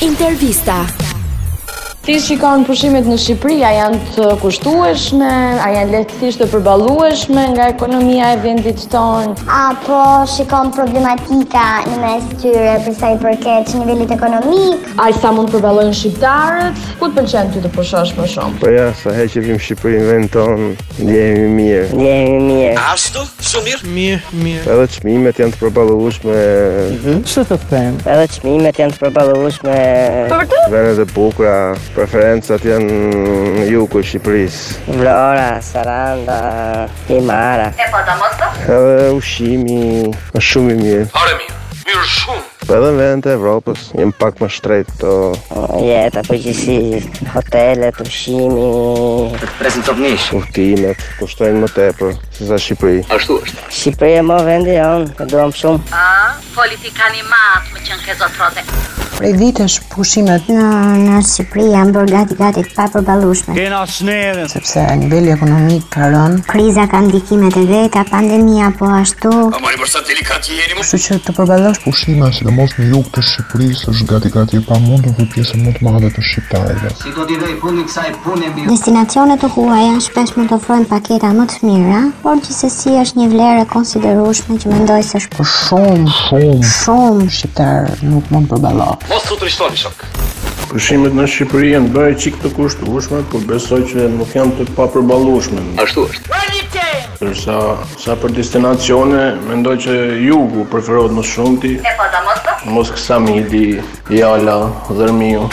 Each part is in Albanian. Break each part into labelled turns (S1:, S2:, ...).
S1: Intervista.
S2: Si shikon pushimet në Shqipëri, a janë të kushtueshme, a janë lehtësisht të përballueshme nga ekonomia e vendit tonë?
S3: apo shikon problematika në mes tyre për sa i përket nivelit ekonomik.
S2: Ai sa mund të përballojnë shqiptarët? Ku të pëlqen ty të pushosh më shumë?
S4: Po ja, sa herë që vim në Shqipëri në vend tonë, ndjehemi mirë.
S5: Ashtu, shumë mirë.
S4: Edhe çmimet janë të përballueshme,
S6: Edhe çmimet janë të përballueshme.
S4: vendet e bukura, preferencat janë në jugu i Shqipërisë.
S6: Vlora, Saranda, Himara.
S4: Edhe ushqimi është shumë i mirë.
S5: Are mirë. Mirë shumë.
S4: Po edhe në vendet e Evropës janë pak më shtrejtë këto.
S6: Jeta përgjithsisht, hotelet, ushqimi.
S5: Prezentov nish.
S4: Udhëtimet kushtojnë më tepër se sa në Shqipëri.
S5: Ashtu është.
S6: Shqipëria më vendi jon, e duam shumë.
S7: politikani matë më qënë ke zotrote.
S8: Prej ditësh pushimet,
S3: Në, në Shqipëri janë bërë gati gati të papërballueshme.
S8: sepse niveli ekonomik ka rënë,
S3: Kriza ka ndikimet e veta, pandemia po ashtu.
S5: A mori përsa delikat jeni më.
S8: kështu që të përballosh
S9: Pushime sidomos në jug të Shqipërisë është gati gati e pamundur për pjesën më të madhe të shqiptarëve.
S3: Destinacionet të huaja shpesh mund të ofrojnë paketa më të mira, por gjithsesi është një vlerë e konsiderueshme që mendoj se është
S8: për shumë,
S9: Shumë
S8: shumë shqiptar nuk mund të përballohet.
S5: Mos u trishtoni shok.
S4: Pushimet në Shqipëri janë bërë çik të kushtueshme, por besoj që nuk janë të papërballueshme.
S5: Ashtu është.
S4: Përsa sa për destinacione, mendoj që jugu preferohet më shumëti. E po ta mos Samili, Jala, Dërmiu.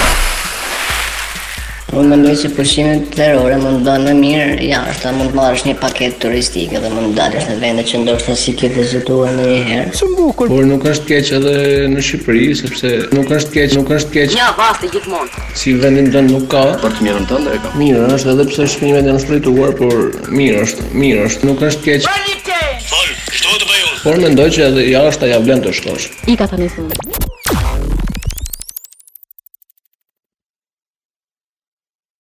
S6: Unë mendoj se pushimet terrore mund të bëhen më mirë jashtë, mund të marrësh një paketë turistike dhe mund të dalësh në vende që ndoshta si ke vizituar ndonjëherë.
S4: Por nuk është keq edhe në Shqipëri, sepse nuk është keq, nuk është keq. Ja, vasti gjithmonë. Si vendin tonë nuk ka.
S5: Për të mirën tënde e kam.
S4: Mirë është edhe pse shpëtimet janë shpëtuar, por mirë është, mirë është, nuk është keq.
S5: Fol, kështu do të bëj unë.
S4: Por mendoj që edhe jashtë ja vlen të shkosh.
S2: I ka tani thënë.